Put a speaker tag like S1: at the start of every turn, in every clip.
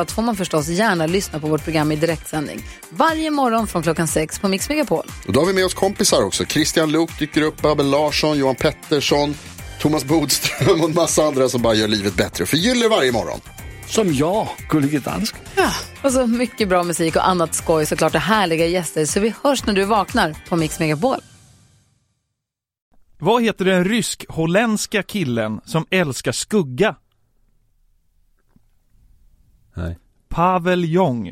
S1: allt får man förstås gärna lyssna på vårt program i direktsändning. Varje morgon från klockan sex på Mix Megapol.
S2: Och då har vi med oss kompisar också. Christian Luuk dyker upp, Abel Larsson, Johan Pettersson, Thomas Bodström och en massa andra som bara gör livet bättre för gillar varje morgon.
S3: Som jag, Gullige Dansken.
S1: Och så mycket bra musik och annat skoj såklart och härliga gäster. Så vi hörs när du vaknar på Mix Megapol.
S4: Vad heter den rysk-holländska killen som älskar skugga?
S5: Nej.
S4: Pavel Jong.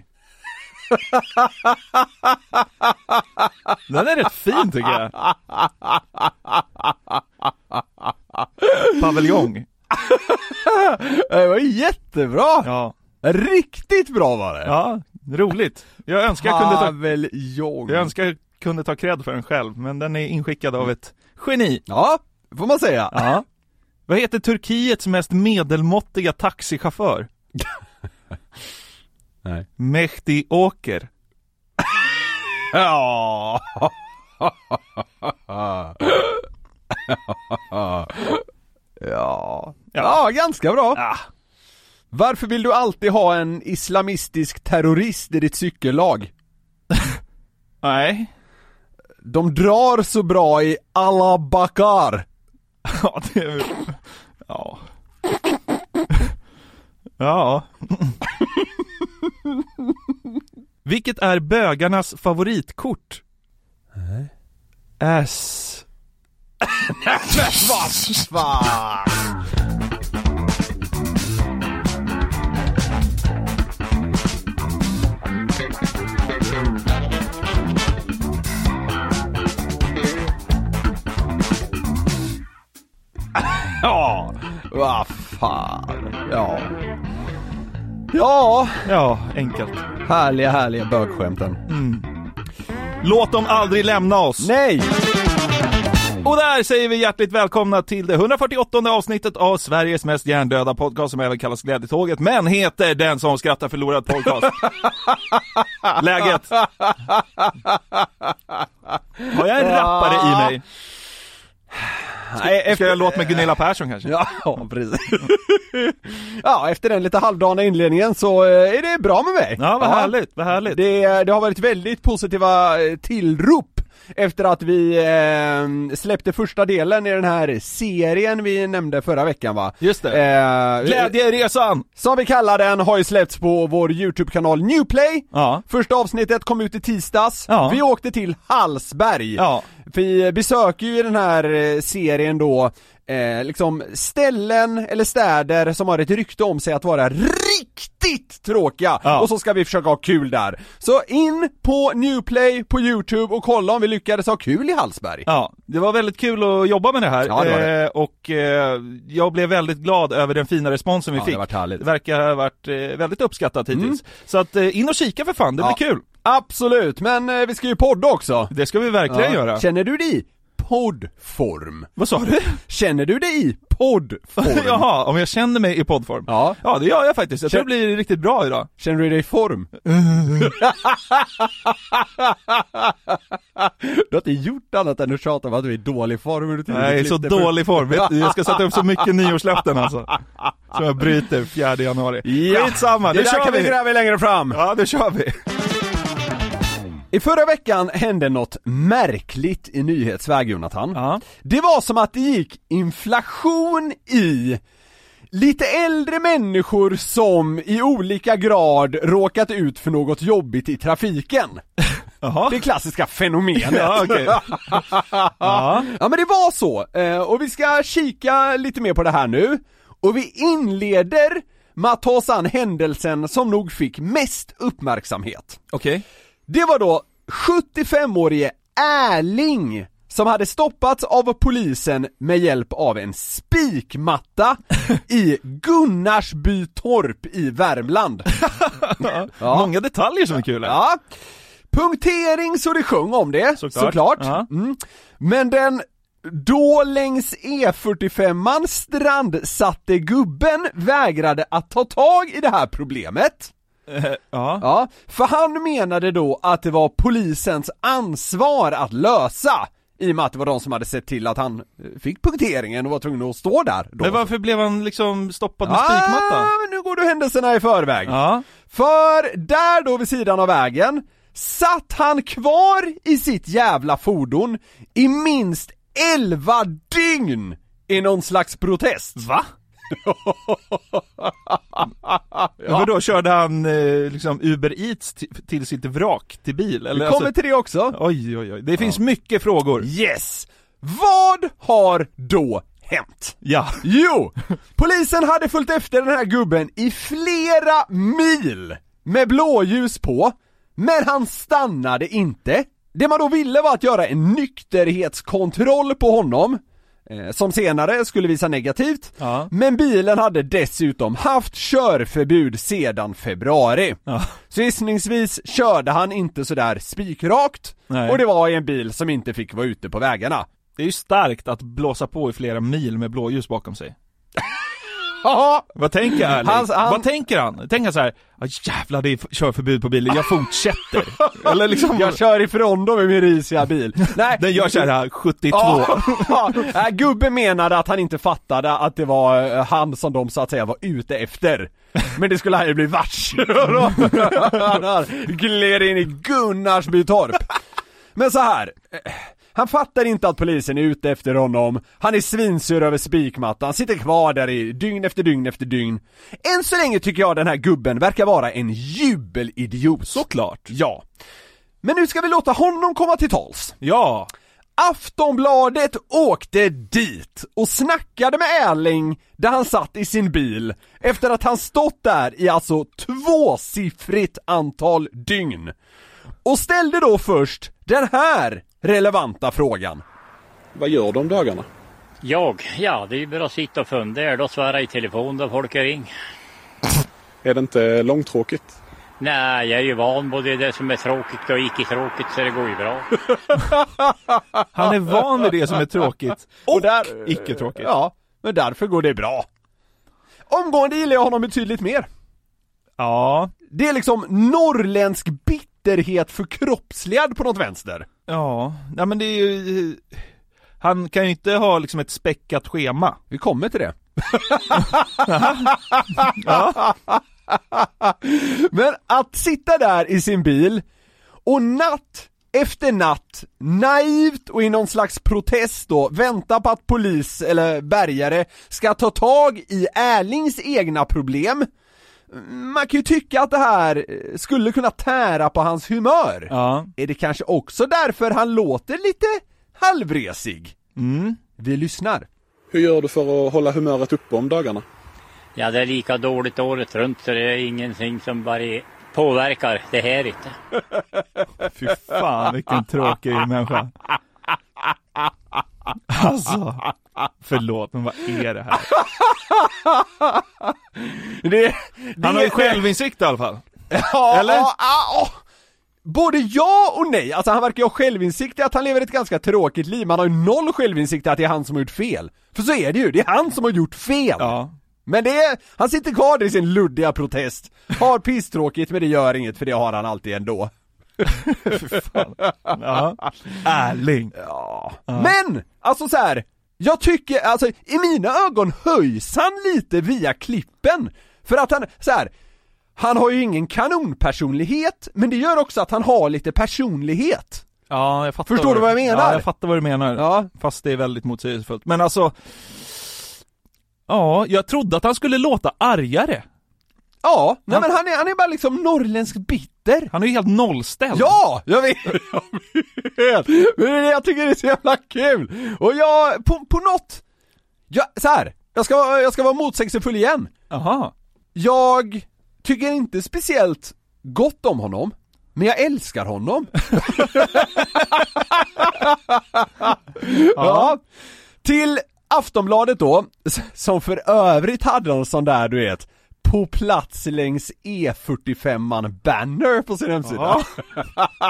S4: Den är rätt fin tycker jag. Paveljong.
S5: Det var jättebra!
S4: Ja,
S5: Riktigt bra var det!
S4: ja, roligt. Jag önskar jag kunde ta,
S5: Paveljong.
S4: jag önskar jag kunde ta cred för den själv, men den är inskickad av ett geni.
S5: Ja, får man säga.
S4: Ja. Vad heter Turkiets mest medelmåttiga taxichaufför?
S5: Nej.
S4: Mehdi Åker.
S5: Ja. ja. Ja, ganska bra.
S4: Ah,
S5: Varför vill du alltid ha en islamistisk terrorist i ditt cykellag?
S4: nej.
S5: De drar så bra i alla bakar.
S4: Ja, det är väl... Ja. Ja. Vilket är bögarnas favoritkort? Nej. S.
S5: Fan. Ja, vad fan. Ja. Ja,
S4: Ja, enkelt.
S5: härliga härliga bögskämten.
S4: Mm. Låt dem aldrig lämna oss.
S5: Nej!
S4: Och där säger vi hjärtligt välkomna till det 148 avsnittet av Sveriges mest hjärndöda podcast som även kallas Glädjetåget, men heter Den som skrattar förlorat podcast. Läget? Har jag en rappare i mig?
S5: Nej,
S4: Ska jag låta med Gunilla Persson kanske?
S5: Ja, ja, precis. ja, efter den lite halvdana inledningen så eh, är det bra med mig.
S4: Ja, vad härligt, vad härligt.
S5: Det, det har varit väldigt positiva eh, tillrop efter att vi eh, släppte första delen i den här serien vi nämnde förra veckan va?
S4: Just det.
S5: Eh,
S4: Glädjeresan!
S5: Som vi kallar den har ju släppts på vår YouTube-kanal Newplay.
S4: Ja.
S5: Första avsnittet kom ut i tisdags.
S4: Ja.
S5: Vi åkte till Hallsberg.
S4: Ja.
S5: Vi besöker ju i den här eh, serien då eh, liksom ställen eller städer som har ett rykte om sig att vara riktigt tråkiga
S4: Ja.
S5: och så ska vi försöka ha kul där. Så in på Newplay på Youtube och kolla om vi lyckades ha kul i Hallsberg.
S4: Ja, det var väldigt kul att jobba med det här
S5: Ja, det var det.
S4: Eh, och eh, jag blev väldigt glad över den fina responsen vi
S5: Ja, det
S4: fick.
S5: har varit härligt. Mm.
S4: Det verkar ha varit eh, väldigt uppskattat hittills. Så att eh, in och kika för fan, det
S5: Ja.
S4: blir kul.
S5: Absolut, men eh, vi ska ju podda också.
S4: Det ska vi verkligen göra.
S5: Känner du det i poddform?
S4: Vad sa du?
S5: Känner du det i poddform?
S4: Jaha, om jag känner mig i poddform?
S5: Ja.
S4: Ja, det gör jag faktiskt. Jag tror det blir riktigt bra idag.
S5: Känner du dig i form? du har inte gjort annat än att tjata om att du är i dålig form under tiden du
S4: Nej, så
S5: klippte för-
S4: dålig form. Vet du, Jag ska sätta upp så mycket nyårslöften alltså. Som jag bryter 4 januari.
S5: Ja.
S4: Skitsamma,
S5: det
S4: nu
S5: där
S4: kör
S5: kan vi
S4: vi!
S5: gräva i längre fram!
S4: Ja, nu kör vi!
S5: I förra veckan hände något märkligt i nyhetsväg Jonathan.
S4: Ja.
S5: Det var som att det gick inflation i lite äldre människor som i olika grad råkat ut för något jobbigt i trafiken.
S4: Jaha.
S5: Det klassiska fenomenet.
S4: Ja, okej. Ja.
S5: Ja men det var så, Eh, och vi ska kika lite mer på det här nu. Och vi inleder med att ta oss an händelsen som nog fick mest uppmärksamhet.
S4: Okej.
S5: Det var då 75-årige Erling som hade stoppats av polisen med hjälp av en spikmatta i Gunnarsby torp i Värmland.
S4: Många detaljer som är kul här.
S5: Ja. Punktering så det sjöng om det, såklart.
S4: Såklart. Ja.
S5: Mm. Men den då längs E45 strandsatte gubben vägrade att ta tag i det här problemet.
S4: Eh, Ja.
S5: Ja, för han menade då att det var polisens ansvar att lösa i och med att det var de som hade sett till att han eh, fick punkteringen och var tvungen att stå där då.
S4: Men varför blev han liksom stoppad med
S5: Ah,
S4: spikmatta?
S5: men nu går du händelserna i förväg.
S4: Ja.
S5: För där då vid sidan av vägen satt han kvar i sitt jävla fordon i minst 11 dygn i någon slags protest.
S4: Va? Ja. Vadå, körde han eh, liksom Uber Eats ti- till sitt vrak, till bil? Eller
S5: Vi kommer
S4: alltså,
S5: till det också.
S4: Oj, oj, oj. Det finns mycket frågor.
S5: Yes! Vad har då hänt?
S4: Ja.
S5: Jo! Polisen hade följt efter den här gubben i flera mil med blåljus på, men han stannade inte. Det man då ville var att göra en nykterhetskontroll på honom, eh, som senare skulle visa negativt,
S4: Ja.
S5: men bilen hade dessutom haft körförbud sedan februari. Så gissningsvis körde han inte sådär spikrakt,
S4: Nej.
S5: och det var i en bil som inte fick vara ute på vägarna.
S4: Det är ju starkt att blåsa på i flera mil med blåljus bakom sig.
S5: Haha!
S4: Vad tänker han?
S5: Mm. Hans- han-
S4: Vad tänker han? Tänker han så här, "Ah, jävlar det är f- körförbud på bilen, jag fortsätter. Eller liksom,
S5: Jag kör ifrån dem i min risiga bil. Nej.
S4: den gör så här 72.
S5: "Ah, Ja, ja, gubben menade att han inte fattade att det var eh, han som de så att säga var ute efter. Men det skulle han ju bli varse. Han gled in i Gunnarsby torp. Men så här. eh, Han fattar inte att polisen är ute efter honom, han är svinsur över spikmattan, sitter kvar där i dygn efter dygn efter dygn. Än så länge tycker jag den här gubben verkar vara en jubelidiot. Såklart. Ja. Men nu ska vi låta honom komma till tals.
S4: Ja,
S5: Aftonbladet åkte dit och snackade med Erling där han satt i sin bil efter att han stått där i alltså tvåsiffrigt antal dygn. Och ställde då först den här relevanta frågan.
S6: Vad gör de dagarna?
S7: Jag? Ja, det är ju bara att sitta och fundera. Då svarar jag i telefon då folk ring.
S6: Är det inte långtråkigt?
S7: Nej, jag är ju van både det som är tråkigt och icke-tråkigt så det går ju bra.
S4: han är van vid det som är tråkigt.
S5: Och, där,
S4: Icke tråkigt.
S5: Ja, men därför går det bra. Omgående gillar jag honom betydligt mer.
S4: Ja,
S5: Det är liksom norrländsk bitterhet förkroppsligad på något vänster.
S4: ja, nej men det är ju... eh, Han kan ju inte ha liksom ett späckat schema.
S5: Vi kommer till det. Men att sitta där i sin bil och natt efter natt, naivt och i någon slags protest då, vänta på att polis eller bärgare ska ta tag i Erlings egna problem. Man kan ju tycka att det här eh, skulle kunna tära på hans humör.
S4: Ja.
S5: Är det kanske också därför han låter lite halvresig? Mm, Vi lyssnar.
S6: Hur gör du för att hålla humöret uppe om dagarna?
S7: Ja, det är lika dåligt året runt så det är ingenting som bara påverkar det här inte.
S4: Fy fan vilken tråkig människa. Alltså, förlåt men vad är det här?
S5: Det, det,
S4: Han har ju självinsikt i alla fall.
S5: Ja,
S4: Eller?
S5: Ja, ja, ja. Både ja och nej, alltså han verkar ju ha självinsikt i att han lever ett ganska tråkigt liv, man har ju noll självinsikt i att det är han som har gjort fel. För så är det ju, det är han som har gjort fel!
S4: Ja.
S5: Men det är, han sitter kvar där i sin luddiga protest, har pisstråkigt men det gör inget för det har han alltid ändå.
S4: ja. Ärling.
S5: Men! Alltså så här. jag tycker, alltså i mina ögon höjs han lite via klippen. För att han, så här. han har ju ingen kanonpersonlighet, men det gör också att han har lite personlighet.
S4: Ja, jag fattar
S5: Förstår du vad jag menar?
S4: Ja, jag fattar vad du menar.
S5: Ja.
S4: Fast det är väldigt motsägelsefullt. Men alltså, ja, jag trodde att han skulle låta argare.
S5: Ja, nej
S4: Han-
S5: men han är, han är bara liksom norrländsk bitter.
S4: Han är ju helt nollställd.
S5: Ja, jag vet! Jag vet! Men det är det jag tycker det är så jävla kul! Och jag, på, på något... Jag, så här, jag ska, vara- jag ska vara motsägelsefull igen.
S4: Aha.
S5: Jag tycker inte speciellt gott om honom. Men jag älskar honom! ja. Till Aftonbladet då, s- som för övrigt hade en sån där du vet, på plats längs E45an banner på sin hemsida.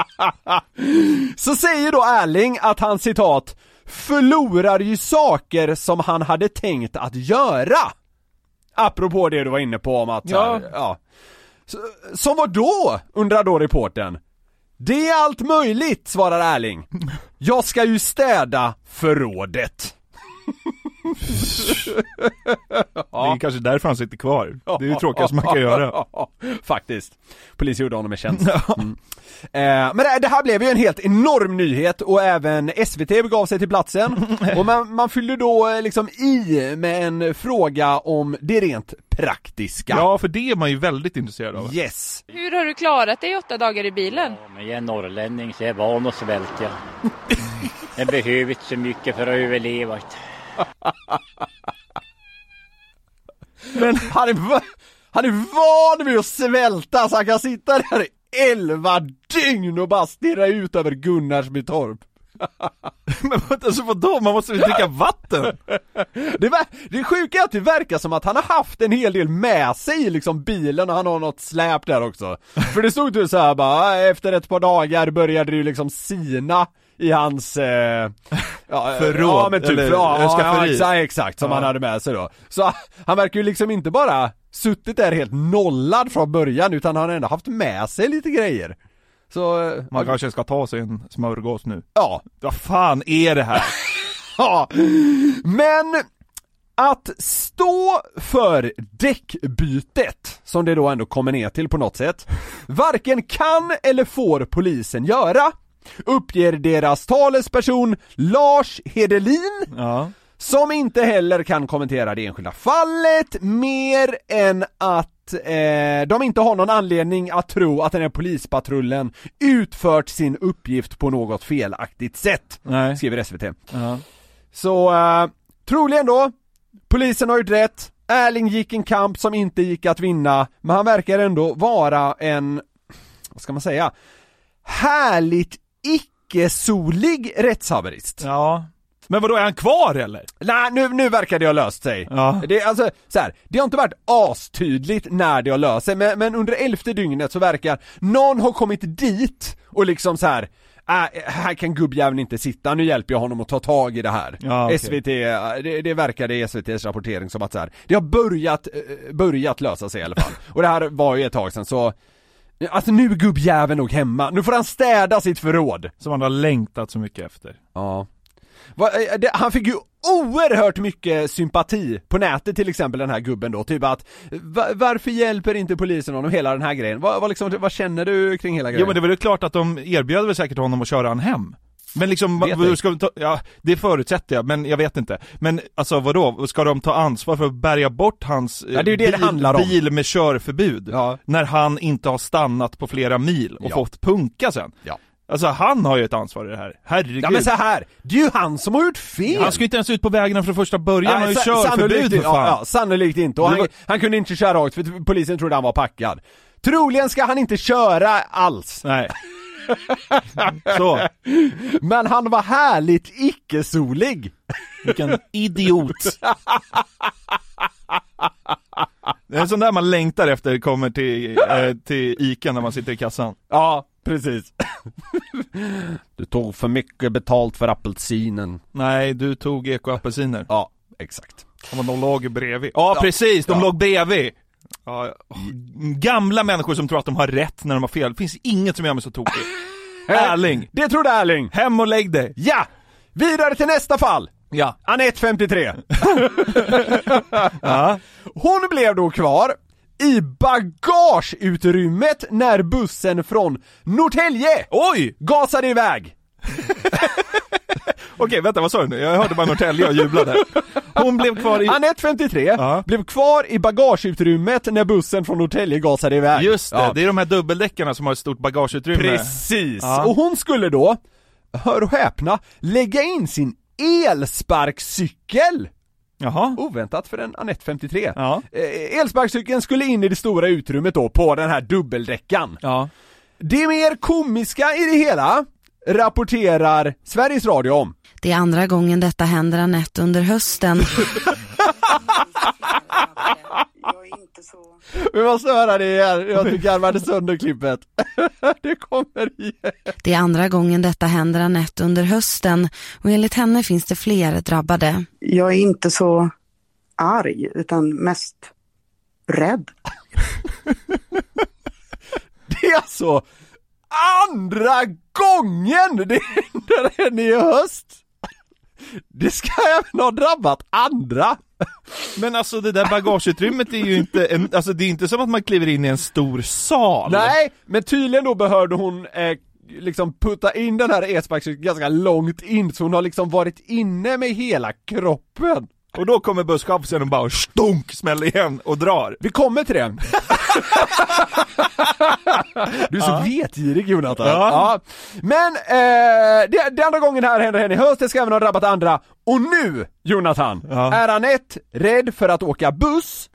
S5: Så säger då Erling att han citat Förlorar ju saker som han hade tänkt att göra! Apropå det du var inne på om att så
S4: Ja.
S5: här, ja. S- Som var då? undrar då reportern. Det är allt möjligt, svarar Erling. Jag ska ju städa förrådet.
S4: Det är kanske därför han sitter kvar. Det är ju tråkigast man kan göra.
S5: Faktiskt. Polis gjorde honom en tjänst. Mm. Eh, men det, det här blev ju en helt enorm nyhet och även SVT begav sig till platsen. Och man, man fyllde då eh, liksom i med en fråga om det rent praktiska.
S4: Ja, för det är man ju väldigt intresserad av.
S5: Yes.
S8: Hur har du klarat dig åtta dagar i bilen?
S7: Ja, men jag är norrlänning så jag är van att svälta. Jag behöver inte så mycket för att överleva.
S5: Han är, va- han är van vid att svälta så han kan sitta där i 11 dygn och bara stirra ut över Gunnarsbytorp.
S4: Men vänta, alltså vadå? Man måste väl dricka vatten?
S5: Det, ver- det sjuka är att det verkar som att han har haft en hel del med sig i liksom bilen och han har något släp där också. För det stod ju så här bara, "Ah, efter ett par dagar började det ju liksom sina i hans... Eh, ja,
S4: Förråd,
S5: Ja men typ,
S4: eller
S5: ja, ja,
S4: skafferi.
S5: exakt, exakt, som han hade med sig då. Så han verkar ju liksom inte bara suttit där helt nollad från början utan han har ändå haft med sig lite grejer. Så, eh,
S4: Man kanske ska ta sig en smörgås nu.
S5: ja.
S4: Vad fan är det här?
S5: Ja, men att stå för däckbytet, som det då ändå kommer ner till på något sätt, varken kan eller får polisen göra, uppger deras talesperson Lars Hedelin,
S4: Ja.
S5: som inte heller kan kommentera det enskilda fallet mer än att eh, de inte har någon anledning att tro att den här polispatrullen utfört sin uppgift på något felaktigt sätt,
S4: Nej.
S5: skriver SVT.
S4: Ja.
S5: Så eh, troligen då, polisen har gjort rätt, Erling gick en kamp som inte gick att vinna, men han verkar ändå vara en, vad ska man säga, härligt icke-solig rättshaverist.
S4: ja. Men vadå, är han kvar eller?
S5: Nej, nu, nu verkar det ha löst sig.
S4: Ja.
S5: Det, är alltså, så här, det har inte varit astydligt när det har löst sig, men, men under elfte dygnet så verkar någon ha kommit dit och liksom så här. Äh, här kan gubbjäveln inte sitta, nu hjälper jag honom att ta tag i det här.
S4: Ja, okej.
S5: SVT, eh, det, det verkade i SVTs rapportering som att så här, det har börjat, eh, börjat lösa sig i alla fall. Och det här var ju ett tag sedan så, alltså nu är gubbjäveln nog hemma, nu får han städa sitt förråd.
S4: Som han har längtat så mycket efter.
S5: Ja. Va, eh, det, han fick ju oerhört mycket sympati på nätet till exempel den här gubben då, typ att va, varför hjälper inte polisen honom hela den här grejen? Vad vad liksom, vad känner du kring hela grejen?
S4: Jo men det var ju klart att de erbjöd väl säkert honom att köra han hem. Men liksom,
S5: Vet
S4: vad-
S5: ej.
S4: ska de ta, ja, det förutsätter jag, men jag vet inte. Men alltså vadå, ska de ta ansvar för att bärga bort hans eh,
S5: Ja, det är ju det det
S4: bil,
S5: handlar om.
S4: bil med körförbud?
S5: Ja.
S4: När han inte har stannat på flera mil och
S5: Ja.
S4: fått punka sen?
S5: Ja.
S4: Alltså han har ju ett ansvar i det här, herregud.
S5: Ja men så här, det är ju han som har gjort fel!
S4: Han ska ju inte ens ut på vägarna från första början, han har ju
S5: sa-
S4: körförbud
S5: sannolikt,
S4: för fan.
S5: Ja, ja, sannolikt inte, och
S4: Det
S5: han,
S4: var-
S5: han kunde inte köra rakt för polisen trodde han var packad. Troligen ska han inte köra alls,
S4: Nej. så,
S5: men han var härligt icke-solig!
S4: vilken idiot. Det är en sån där man längtar efter kommer till, eh, till Ica när man sitter i kassan.
S5: Ja, precis. du tog för mycket betalt för apelsinen.
S4: Nej, du tog ekoapelsiner.
S5: Ja, exakt.
S4: Ja, men de låg ju bredvid. Ja, precis, de låg bredvid. Ja, åh,
S5: Mm.
S4: gamla människor som tror att de har rätt när de har fel. Det finns inget som gör mig så tokig. Erling,
S5: Det trodde Erling.
S4: hem och lägg dig.
S5: Ja! Vidare till nästa fall.
S4: Ja.
S5: Anette 53. Hon blev då kvar i bagageutrymmet när bussen från Norrtälje
S4: Oj!
S5: gasade iväg.
S4: Okej, vänta, vad sa du nu? Jag hörde bara Norrtälje och jublade. Hon blev kvar i...
S5: Anette 53
S4: Ja.
S5: blev kvar i bagageutrymmet när bussen från Norrtälje gasade iväg.
S4: Just det,
S5: Ja.
S4: det är de här dubbeldäckarna som har ett stort bagageutrymme.
S5: Precis!
S4: Ja.
S5: Och hon skulle då, hör och häpna, lägga in sin elsparkcykel!
S4: Jaha.
S5: Oväntat för en Anette 53.
S4: Ja.
S5: Eh, Elsparkcykeln skulle in i det stora utrymmet då, på den här dubbeldäckan.
S4: Ja.
S5: Det mer komiska i det hela rapporterar Sveriges Radio om.
S9: Det är andra gången detta händer Anette under hösten.
S5: Vi måste höra det igen, jag tycker jag hade sönder klippet. Det kommer igen.
S9: Det är andra gången detta händer Anette under hösten och enligt henne finns det fler drabbade.
S10: Jag är inte så arg, utan mest rädd.
S5: Det är alltså andra gången det händer henne i höst! Det ska även ha drabbat andra!
S4: Men alltså det där bagageutrymmet är ju inte, en, alltså det är inte som att man kliver in i en stor sal.
S5: Nej, men tydligen då behövde hon eh, liksom putta in den här elsparkcykeln ganska långt in, så hon har liksom varit inne med hela kroppen.
S4: Och då kommer busschauffören och bara stunk, smäller igen och drar.
S5: Vi kommer till det. du är så vetgirig Jonathan.
S4: Ja.
S5: Men eh, det, det andra gången här händer henne i höst, det ska även ha drabbat andra. Och nu Jonathan,
S4: Ja.
S5: är Anette rädd för att åka buss?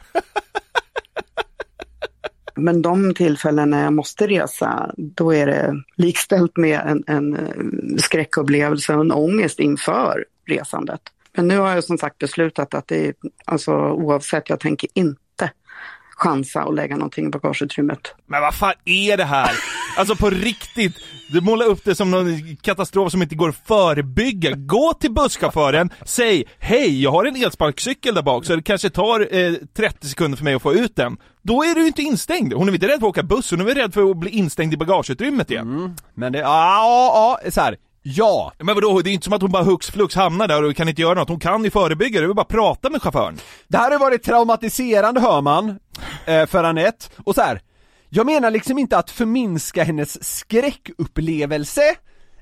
S10: Men de tillfällen när jag måste resa, då är det likställt med en, en eh, skräckupplevelse och en ångest inför resandet. Men nu har jag som sagt beslutat att det är, alltså oavsett, jag tänker inte chansa och lägga någonting i bagageutrymmet.
S4: Men vad fan är det här? Alltså på riktigt, du målar upp det som någon katastrof som inte går att förebygga. Gå till busschauffören, säg hej, jag har en elsparkcykel där bak så det kanske tar eh, 30 sekunder för mig att få ut den. Då är du ju inte instängd. Hon är inte rädd för att åka buss, hon är rädd för att bli instängd i bagageutrymmet igen.
S5: Men det, ja, ja, så här. ja.
S4: Men vadå, det är ju inte som att hon bara hux flux hamnar där och kan inte göra något. Hon kan ju förebygga det, vi bara prata med chauffören.
S5: Det här har varit traumatiserande hör man, eh, för Anette, och så här. Jag menar liksom inte att förminska hennes skräckupplevelse,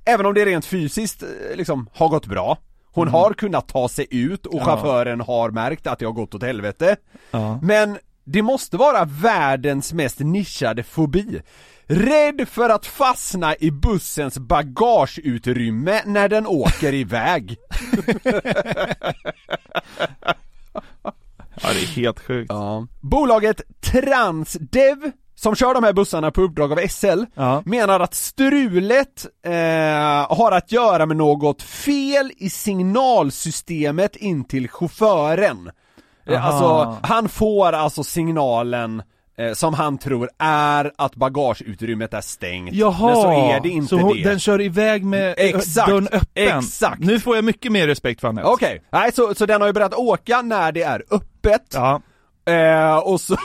S5: även om det rent fysiskt eh, liksom har gått bra. Hon har kunnat ta sig ut och chauffören har märkt att det har gått åt helvete. Men det måste vara världens mest nischade fobi. Rädd för att fastna i bussens bagageutrymme när den åker iväg.
S4: Ja, det är helt sjukt.
S5: Bolaget Transdev som kör de här bussarna på uppdrag av SL
S4: Ja.
S5: menar att strulet eh, har att göra med något fel i signalsystemet in till chauffören. Eh,
S4: Aha.
S5: Alltså, han får alltså signalen eh, som han tror är att bagageutrymmet är stängt. Men så är det inte
S4: så hon,
S5: det.
S4: den kör iväg med ö-
S5: Exakt,
S4: dörren öppen.
S5: exakt.
S4: Nu får jag mycket mer respekt för Anette.
S5: Okej, nej så, så den har ju börjat åka när det är öppet.
S4: Ja.
S5: Eh, och så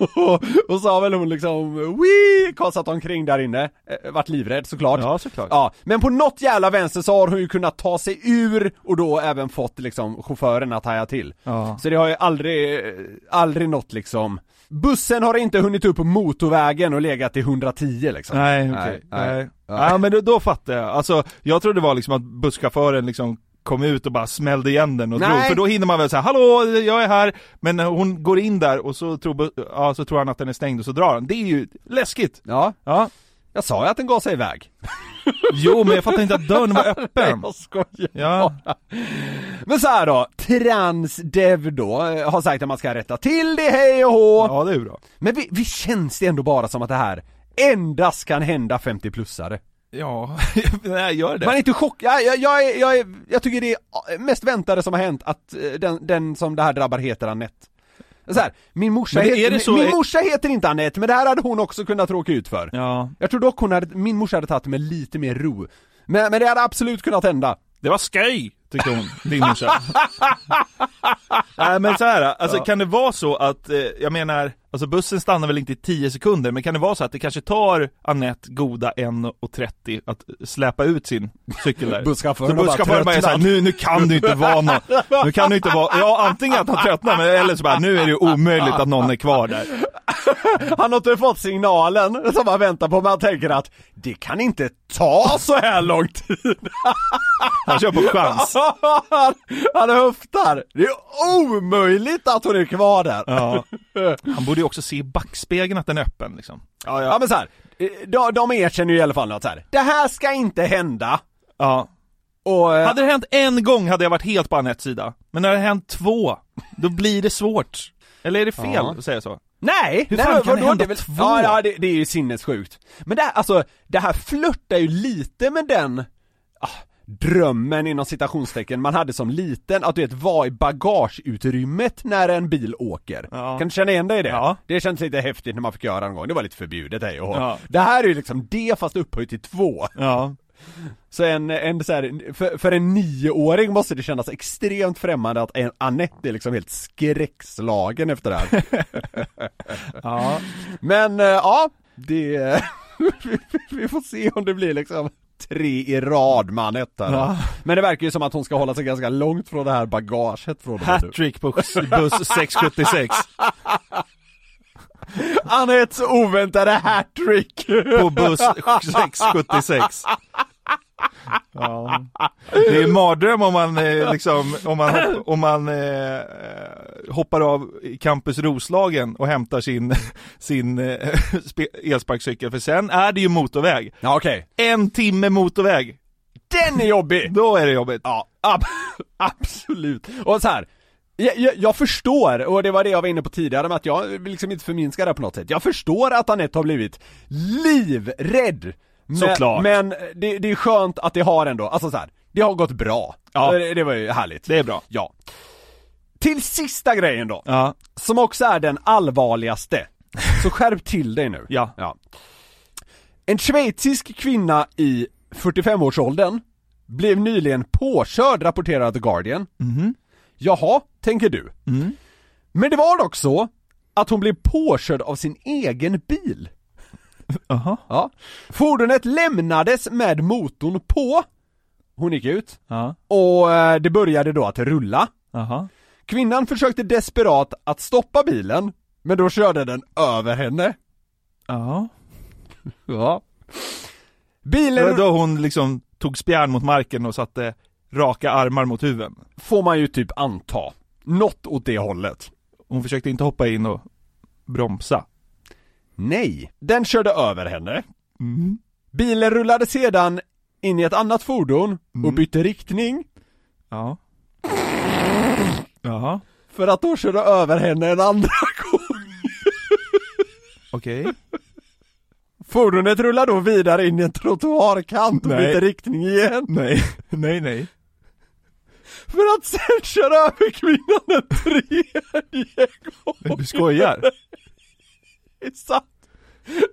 S5: och så har väl hon liksom wii, kastat omkring där inne, eh, varit livrädd såklart.
S4: Ja, såklart.
S5: Ja, men på något jävla vänster så har hon ju kunnat ta sig ur och då även fått liksom chauffören att haja till.
S4: Ja.
S5: Så det har ju aldrig, eh, aldrig nått liksom Bussen har inte hunnit upp på motorvägen och legat i 110 liksom.
S4: Nej, okej.
S5: Nej, nej.
S4: Nej. Ja, men då, då fattar jag. Alltså, jag trodde det var liksom att busschauffören liksom kom ut och bara smällde igen den och
S5: Nej.
S4: drog. För då hinner man väl säga hallå, jag är här. Men när hon går in där och så tror, bu- ja, så tror han att den är stängd och så drar han. Det är ju läskigt.
S5: Ja,
S4: Ja.
S5: jag sa ju att den gav sig iväg.
S4: Jo, men jag fattar inte att dörren var öppen.
S5: Jag skojar.
S4: Ja.
S5: Men så här då, transdev då eh, har sagt att man ska rätta till det hej och hå.
S4: ja, det är ju bra.
S5: Men vi, vi känns det ändå bara som att det här endast kan hända 50-plussare.
S4: Ja, nej, gör det.
S5: Man är inte chockad, jag, jag, jag, är- jag, är- jag tycker det är mest väntade som har hänt att eh, den, den som det här drabbar heter Anette. Så här, min morsa,
S4: Men det-
S5: heter,
S4: är det så-
S5: min, min morsa heter inte Anette, men det här hade hon också kunnat råka ut för.
S4: Ja.
S5: Jag tror dock hon hade, min morsa hade tagit det med lite mer ro. Men, men det hade absolut kunnat hända.
S4: Det var skoj, tyckte hon, din morsa. Nej men så här, alltså kan det vara så att, eh, jag menar, alltså bussen stannar väl inte i 10 sekunder, men kan det vara så att det kanske tar Anette goda 1.30 att släpa ut sin cykel där?
S5: Busschauffören
S4: så
S5: har bara
S4: busschauffören bara är såhär,
S5: tröttnat.
S4: nu, nu kan du inte vara någon, nu kan du inte vara, ja antingen att han tröttnar, men eller så bara, nu är det ju omöjligt att någon är kvar där.
S5: Han har inte fått signalen som han väntar på, men han tänker att det kan inte ta så här lång tid.
S4: Han kör på chans.
S5: han, han höftar! Det är omöjligt att hon är kvar där! Ja,
S4: Ja. Han borde ju också se i backspegeln att den är öppen liksom. Ja, ja.
S5: men så här, eh, de, de erkänner ju i alla fall att så här, det här ska inte hända!
S4: ja.
S5: Och, eh,
S4: Hade det hänt en gång hade jag varit helt på Anettes sida. Men när det har hänt två, då blir det svårt. Eller är det fel
S5: Ja.
S4: att säga så?
S5: Nej!
S4: Hur
S5: nej,
S4: fan
S5: men
S4: kan det
S5: vadå?
S4: hända
S5: är väl-
S4: två?
S5: Ja, ja det, det är ju sinnessjukt. Men det här, alltså, det här flörtar ju lite med den ah, drömmen inom citationstecken man hade som liten, att du vet vara i bagageutrymmet när en bil åker. Kan du känna igen dig i det?
S4: Ja.
S5: Det känns lite häftigt när man fick göra en gång, det var lite förbjudet hej och hå.
S4: Ja.
S5: Det här är ju liksom det fast upphöjt till två.
S4: Ja.
S5: Så en, en så här, för, för en nioåring måste det kännas extremt främmande att en Anette är liksom helt skräckslagen efter det här.
S4: Ja.
S5: Men eh, ja, det... vi- vi får se om det blir liksom tre i rad med Anette här.
S4: Ja.
S5: Men det verkar ju som att hon ska hålla sig ganska långt från det här bagaget från och med nu.
S4: Hattrick på s- buss 676
S5: Anettes oväntade hattrick!
S4: på buss 676. Ja. Det är en mardröm om man eh, liksom, om man, om man eh, hoppar av i Campus Roslagen och hämtar sin, sin eh, spe- elsparkcykel för sen är det ju motorväg.
S5: Ja okej,
S4: En timme motorväg,
S5: den är jobbig!
S4: då är det jobbigt.
S5: Ja, ab- absolut. Och så här. Jag, jag, jag förstår, och det var det jag var inne på tidigare med att jag vill liksom inte förminska det här på något sätt. Jag förstår att Anette har blivit livrädd! Men,
S4: Såklart.
S5: Men det, det är skönt att det har ändå, alltså så här. det har gått bra.
S4: Ja.
S5: Det, det var ju härligt.
S4: Det är bra.
S5: Ja. Till sista grejen då,
S4: Ja,
S5: som också är den allvarligaste. Så skärp till dig nu.
S4: Ja.
S5: En schweizisk kvinna i 45-årsåldern blev nyligen påkörd, rapporterar The Guardian.
S4: Mhm.
S5: Jaha, tänker du.
S4: Mm.
S5: Men det var dock så att hon blev påkörd av sin egen bil.
S4: Jaha.
S5: Ja. Fordonet lämnades med motorn på. Hon gick ut
S4: ja,
S5: och eh, det började då att rulla.
S4: jaha.
S5: Kvinnan försökte desperat att stoppa bilen, men då körde den över henne.
S4: Ja.
S5: Ja.
S4: Det var
S5: Bilen
S4: då hon liksom tog spjärn mot marken och satte raka armar mot huven.
S5: får man ju typ anta. Något åt det hållet.
S4: Hon försökte inte hoppa in och bromsa.
S5: Nej, den körde över henne.
S4: Mm.
S5: Bilen rullade sedan in i ett annat fordon
S4: Mm.
S5: och bytte riktning
S4: Ja. Jaha,
S5: för att då körde över henne en andra gång.
S4: okej.
S5: Fordonet rullar då vidare in i en trottoarkant och
S4: Nej.
S5: byter riktning igen.
S4: Nej, nej, nej.
S5: För att sen köra över kvinnan en tredje gång.
S4: Du skojar?
S5: Det är sant!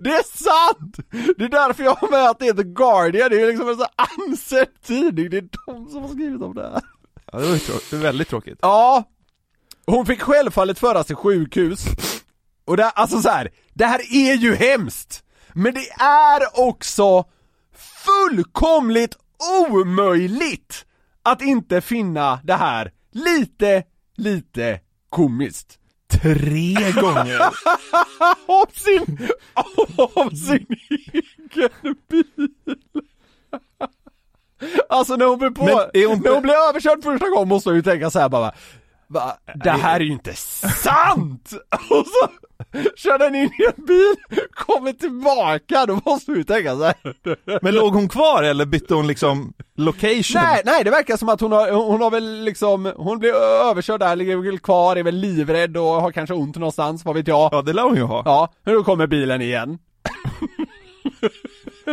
S5: Det är sant! Det är därför jag har med att det heter Guardian, det är ju liksom en sån här ansedd tidning, det är de som har skrivit om det här.
S4: Ja, det var ju trå- det var väldigt tråkigt.
S5: Ja, hon fick självfallet föras till sjukhus. Och det, alltså så här, det här är ju hemskt! Men det är också fullkomligt omöjligt att inte finna det här lite, lite komiskt.
S4: Tre gånger?
S5: Om sin, om sin egen bil. Alltså när hon blir på,
S4: Men är hon-
S5: när hon blir överkörd första gången måste hon ju tänka så här bara Va? Det här är ju inte sant! Och så kör den in i en bil, kommer tillbaka, då måste hon ju tänka så här.
S4: Men låg hon kvar eller bytte hon liksom location?
S5: Nej, nej det verkar som att hon har, hon har väl liksom, hon blir överkörd där, ligger väl kvar, är väl livrädd och har kanske ont någonstans, vad vet jag.
S4: Ja, det lär hon ju ha.
S5: Ja, men då kommer bilen igen.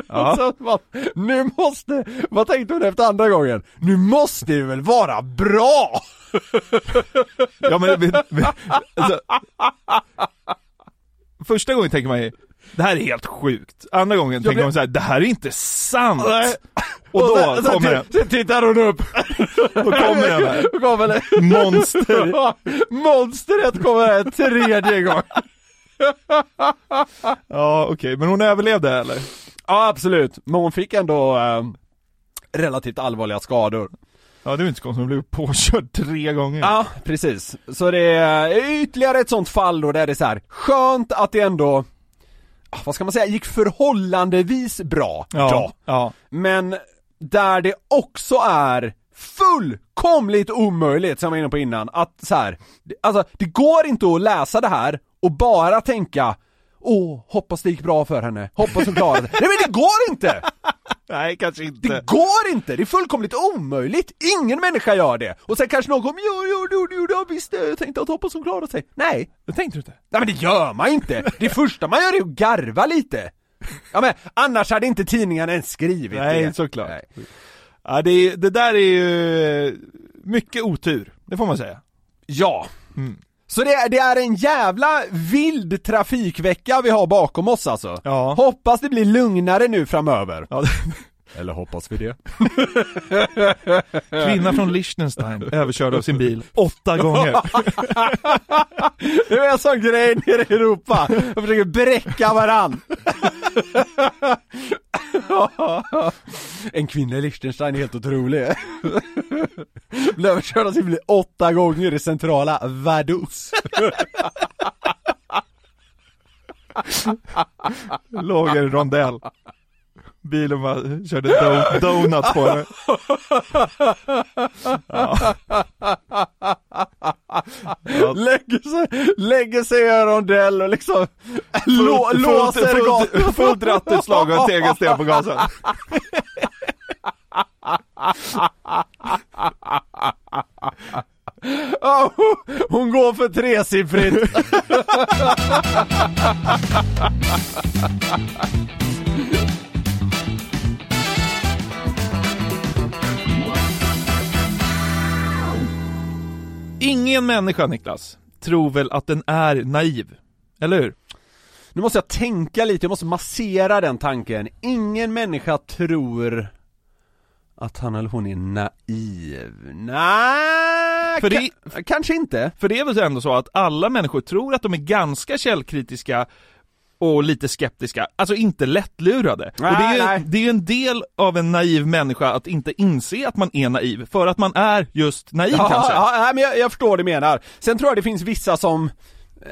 S5: Och så bara, nu måste, vad tänkte hon efter andra gången? Nu måste det väl vara bra!
S4: Ja, men, vi- vi- alltså, första gången tänker man ju, det här är helt sjukt. Andra gången tänker
S5: blir-
S4: man så här, det här är inte sant!
S5: Nej.
S4: Och då
S5: sen- sen
S4: kommer den,
S5: ti- Sen tittar hon upp.
S4: då kommer den här.
S5: Då kommer det.
S4: Monster!
S5: Monstret kommer en tredje gång.
S4: Ja, okej, men hon överlevde eller?
S5: Ja absolut, men hon fick ändå ehm, relativt allvarliga skador.
S4: Ja, det är ju inte så konstigt, hon blev påkörd tre gånger.
S5: Ja, precis. Så det är ytterligare ett sånt fall då där det är så här skönt att det ändå, ah, vad ska man säga, gick förhållandevis bra.
S4: ja. ja.
S5: Men där det också är fullkomligt omöjligt, som jag var inne på innan, att så här, det- alltså det går inte att läsa det här och bara tänka Åh, hoppas det gick bra för henne, hoppas hon klarade det. Nej men det går inte!
S4: Nej, kanske inte.
S5: Det går inte! Det är fullkomligt omöjligt! Ingen människa gör det! Och sen kanske någon kommer ja, ja, jo, jo, ja, visst, eh, jag tänkte att hoppas hon klarar sig. Nej!
S4: Det tänkte du inte?
S5: Nej men det gör man inte! Det första man gör är att garva lite! Ja men annars hade inte tidningarna ens skrivit det.
S4: Nej, såklart. Ja, det, är- det där är ju eh, mycket otur, det får man säga.
S5: Ja.
S4: Mm.
S5: Så det är, det är en jävla vild trafikvecka vi har bakom oss alltså.
S4: Ja.
S5: Hoppas det blir lugnare nu framöver.
S4: Ja,
S5: Eller hoppas vi det.
S4: Kvinna från Liechtenstein överkörd av sin bil åtta gånger.
S5: Det är en sån grej nere i Europa. De försöker bräcka varann. En kvinna i Liechtenstein är helt otrolig. Blev överkörd av sin bil åtta gånger i centrala Vaduz.
S4: Låg i en rondell. Bilen bara körde do- donut på henne.
S5: Lägger sig, lägger sig i en rondell och liksom lå,
S4: Fullt-
S5: låser
S4: fullt-
S5: gatan.
S4: fullt- Fullt rattutslag och en tegelsten på gasen.
S5: Ja, hon- Hon går för tresiffrigt.
S4: Ingen människa, Niklas, tror väl att den är naiv? Eller hur?
S5: Nu måste jag tänka lite, jag måste massera den tanken. Ingen människa tror att han eller hon är naiv. Nej,
S4: För
S5: För
S4: det-
S5: kanske inte.
S4: För det är väl ändå så att alla människor tror att de är ganska källkritiska och lite skeptiska, alltså inte lättlurade. och det är,
S5: Nej,
S4: ju,
S5: nej.
S4: det är ju en del av en naiv människa att inte inse att man är naiv, för att man är just naiv
S5: Ja,
S4: kanske.
S5: ja, nej, men jag, jag förstår vad du menar. Sen tror jag det finns vissa som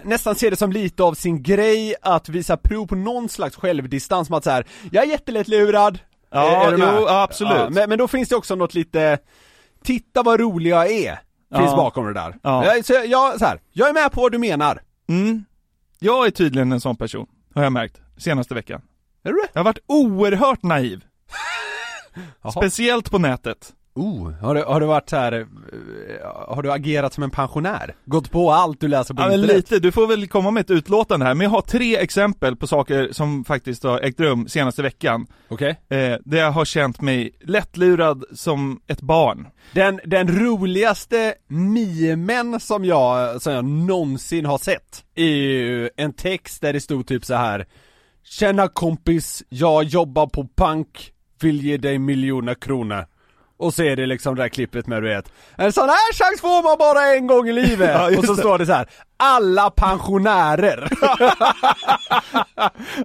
S5: nästan ser det som lite av sin grej att visa prov på någon slags självdistans med att så här, jag är jättelätt lurad.
S4: Ja,
S5: Är- är du med?
S4: jo, ja, absolut.
S5: men, men då finns det också något lite, titta vad rolig jag är, finns
S4: Ja.
S5: bakom det där.
S4: Ja.
S5: Jag, så jag, jag, så här, jag är med på vad du menar.
S4: Mm. Jag är tydligen en sån person, har jag märkt, senaste veckan.
S5: Är du det?
S4: Jag har varit oerhört naiv.
S5: Jaha.
S4: Speciellt på nätet.
S5: Oh, har du, har du varit så här, eh, har du agerat som en pensionär? Gått på allt du läser på
S4: Ja, men
S5: internet?
S4: lite, du får väl komma med ett utlåtande här, men jag har tre exempel på saker som faktiskt har ägt rum senaste veckan.
S5: Okej.
S4: Eh, där jag har känt mig lättlurad som ett barn.
S5: Den, den roligaste mimen som jag, som jag någonsin har sett är ju en text där det stod typ så här Tjena kompis, jag jobbar på bank, vill ge dig miljoner kronor och så är det liksom det där klippet med du vet En sån här chans får man bara en gång i livet!
S4: Ja, just
S5: och så
S4: det.
S5: står det så här Alla pensionärer!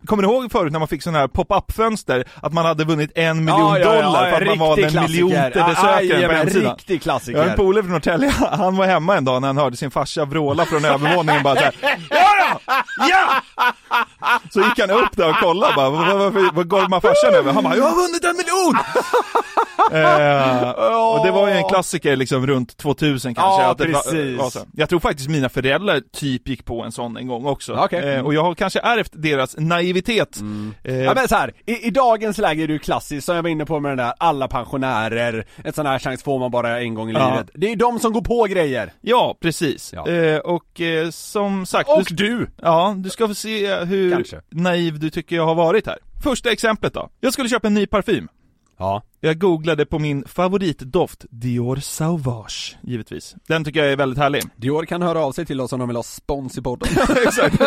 S4: Kommer ni ihåg förut när man fick sådana här pop-up-fönster? Att man hade vunnit en miljon
S5: Ja, ja, ja,
S4: dollar för att man valde
S5: riktig
S4: en
S5: klassiker. Ah,
S4: miljonte besökare på
S5: Jajamän,
S4: hemsidan.
S5: Riktig
S4: Jag har en
S5: klassiker!
S4: polare från Norrtälje, han var hemma en dag när han hörde sin farsa vråla från övervåningen bara såhär Ja då! Ja! Så gick han upp där och kollade bara, vad, vad, vad, vad gormar farsan över? Han bara, jag har vunnit en miljon! eh, och det var ju en klassiker liksom runt 2000 kanske.
S5: Ja,
S4: att det var-
S5: precis.
S4: var så. Jag tror faktiskt mina föräldrar typ gick på en sån en gång också.
S5: Okej. Mm.
S4: Eh, och jag har kanske ärvt deras naivitet. Eh,
S5: Ja men så här, i, i dagens läge är det ju klassiskt, som jag var inne på med den där alla pensionärer, ett sån här chans får man bara en gång i
S4: Ja.
S5: livet. Det är ju de som går på grejer.
S4: Ja, precis.
S5: Ja.
S4: Eh, och eh, som sagt...
S5: Och
S4: du! Ja, du ska få se hur
S5: Kanske.
S4: naiv du tycker jag har varit här. Första exemplet då. Jag skulle köpa en ny parfym.
S5: Ja.
S4: Jag googlade på min favoritdoft, Dior Sauvage, givetvis. Den tycker jag är väldigt härlig.
S5: Dior kan höra av sig till oss om de vill ha spons i podden.
S4: Exakt.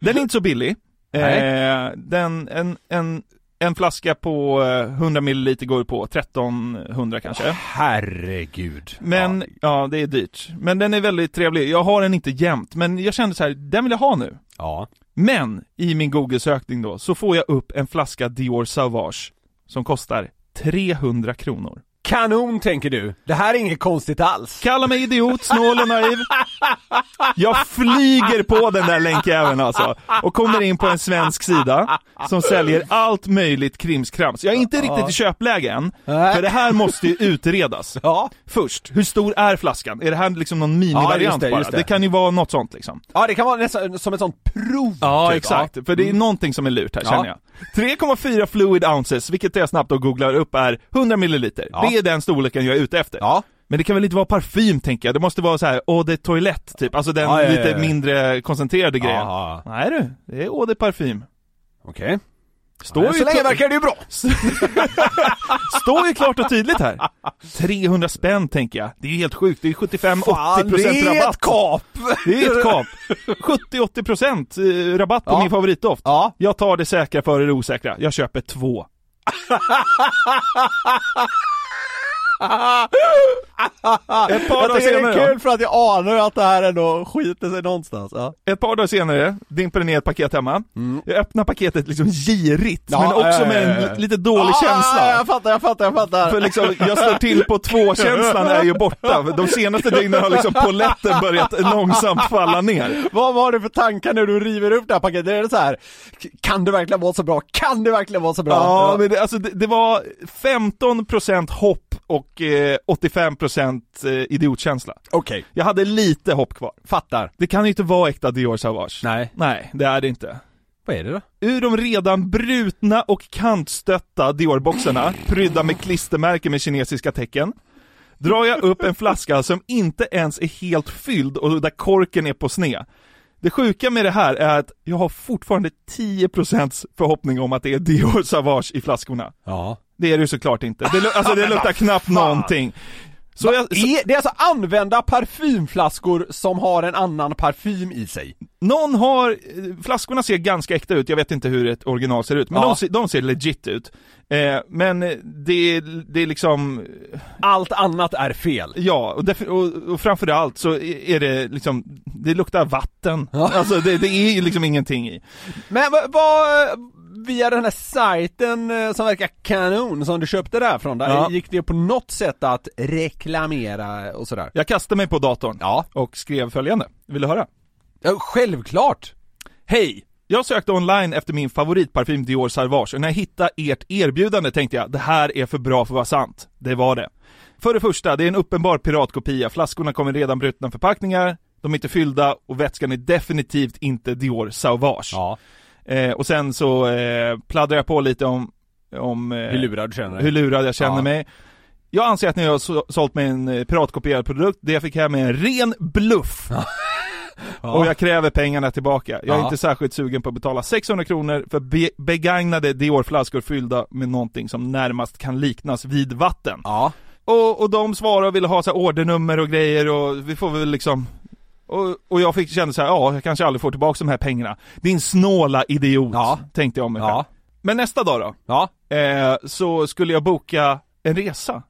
S4: Den är inte så billig. Eh,
S5: Nej.
S4: den, en, en, en flaska på eh, 100 ml går på 1300 kanske.
S5: Herregud.
S4: Men, ja. det är dyrt. Men den är väldigt trevlig. Jag har den inte jämt, men jag kände så här, den vill jag ha nu.
S5: Ja.
S4: Men, i min Google-sökning då, så får jag upp en flaska Dior Sauvage som kostar 300 kronor.
S5: Kanon tänker du. Det här är inget konstigt alls.
S4: Kalla mig idiot, snål och naiv. Jag flyger på den där länkjäveln alltså och kommer in på en svensk sida som säljer allt möjligt krimskrams. Jag är inte riktigt i köpläge än, för det här måste ju utredas. Först, hur stor är flaskan? Är det här liksom någon
S5: Ja, just
S4: minivariant
S5: det,
S4: bara?
S5: just det.
S4: Det kan ju vara något sånt liksom.
S5: Ja, det kan vara nästan som ett sånt prov.
S4: Ja,
S5: typ,
S4: exakt.
S5: ja.
S4: För det är någonting som är lurt här
S5: Ja.
S4: känner jag. 3,4 fluid ounces, vilket jag snabbt då googlar upp är 100 milliliter.
S5: Ja.
S4: Det är den storleken jag är ute efter. Men det kan väl inte vara parfym tänker jag, det måste vara så här eau de toilette typ, alltså den
S5: Ja, ja, ja,
S4: lite
S5: ja.
S4: mindre koncentrerade
S5: Ja,
S4: grejen.
S5: ja, ja.
S4: Nej du, det är eau de parfym.
S5: Okej.
S4: Står
S5: Ja,
S4: ju
S5: Så länge verkar det ju bra.
S4: Står ju klart och tydligt här. 300 spänn tänker jag. Det är ju helt sjukt, det är 75-80%
S5: Fan, det är
S4: rabatt.
S5: ett kap!
S4: Det är ett kap. 70-80% eh, rabatt på
S5: Ja.
S4: min favoritdoft.
S5: Ja.
S4: Jag tar det säkra före det osäkra. Jag köper två. Ett par
S5: Jag
S4: dagar
S5: tycker det är
S4: senare,
S5: kul för att jag anar att det här ändå skiter sig någonstans. Ja.
S4: ett par dagar senare dimper det ner ett paket hemma. Jag öppnar paketet liksom girigt,
S5: Mm. Ja,
S4: men också
S5: eh,
S4: med en
S5: eh.
S4: li- lite dålig
S5: Ah,
S4: känsla.
S5: Jag fattar, jag fattar, jag fattar.
S4: För liksom, jag står till på två-känslan är ju borta. De senaste dygnen har liksom polletten börjat långsamt falla ner.
S5: Vad var det för tankar när du river upp det här paketet? Är det så här, "K- kan det verkligen vara så bra? Kan det verkligen vara så bra?
S4: Ja, men det, alltså, det, det var 15% hopp och eh, 85% eh, idiotkänsla.
S5: Okej,
S4: Jag hade lite hopp kvar.
S5: fattar.
S4: Det kan ju inte vara äkta Dior Sauvage.
S5: Nej.
S4: Nej, det är det inte.
S5: Vad är det då?
S4: Ur de redan brutna och kantstötta Dior-boxarna, prydda med klistermärken med kinesiska tecken, drar jag upp en flaska som inte ens är helt fylld och där korken är på sned. Det sjuka med det här är att jag har fortfarande 10% förhoppning om att det är Dior Sauvage i flaskorna.
S5: Ja.
S4: Det är det ju såklart inte. Det, lu- alltså det luktar knappt någonting. Så jag, så,
S5: Det är alltså använda parfymflaskor som har en annan parfym i sig.
S4: någon har, eh, flaskorna ser ganska äkta ut, jag vet inte hur ett original ser ut, men
S5: Ja.
S4: de, ser- de ser legit ut. Eh, men eh, det, är- det är liksom,
S5: Allt annat är fel.
S4: ja, och, därför, och, och framförallt så är är det liksom, det luktar vatten. Alltså det, det är ju liksom ingenting i.
S5: Men vad, vad, via den här sajten eh, som verkar kanon, som du köpte där från, där,
S4: Ja.
S5: gick det på något sätt att reklamera och sådär?
S4: Jag kastade mig på datorn
S5: Ja.
S4: och skrev följande, vill du höra?
S5: ja självklart!
S4: Hej! Jag sökte online efter min favoritparfym Dior Sauvage och när jag hittade ert erbjudande tänkte jag det här är för bra för att vara sant. Det var det. För det första, det är en uppenbar piratkopia. Flaskorna kommer redan brutna förpackningar, de är inte fyllda och vätskan är definitivt inte Dior Sauvage.
S5: Ja,
S4: Eh, och sen så eh, pladdrar jag på lite om, om eh,
S5: hur lurad du känner dig.
S4: hur lurad jag känner
S5: Ja.
S4: mig. Jag anser att ni har så- sålt mig en eh, piratkopierad produkt, det jag fick hem är en ren bluff. Och jag kräver pengarna tillbaka. Jag är
S5: Ja.
S4: inte särskilt sugen på att betala 600 kronor för be- begagnade Dior-flaskor fyllda med någonting som närmast kan liknas vid vatten.
S5: Ja.
S4: Och, och de svarar och ville ha så här ordernummer och grejer och vi får väl liksom och, och jag fick känna så här, ja, jag kanske aldrig får tillbaka de här pengarna. Din snåla idiot,
S5: Ja.
S4: tänkte jag om mig själv.
S5: Ja.
S4: Men nästa dag då?
S5: Ja.
S4: eh, så skulle jag boka en resa.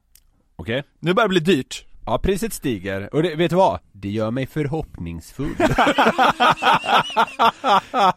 S5: Okej.
S4: Nu börjar det bli dyrt.
S5: Ja, priset stiger. Och det, vet du vad? Det gör mig förhoppningsfull.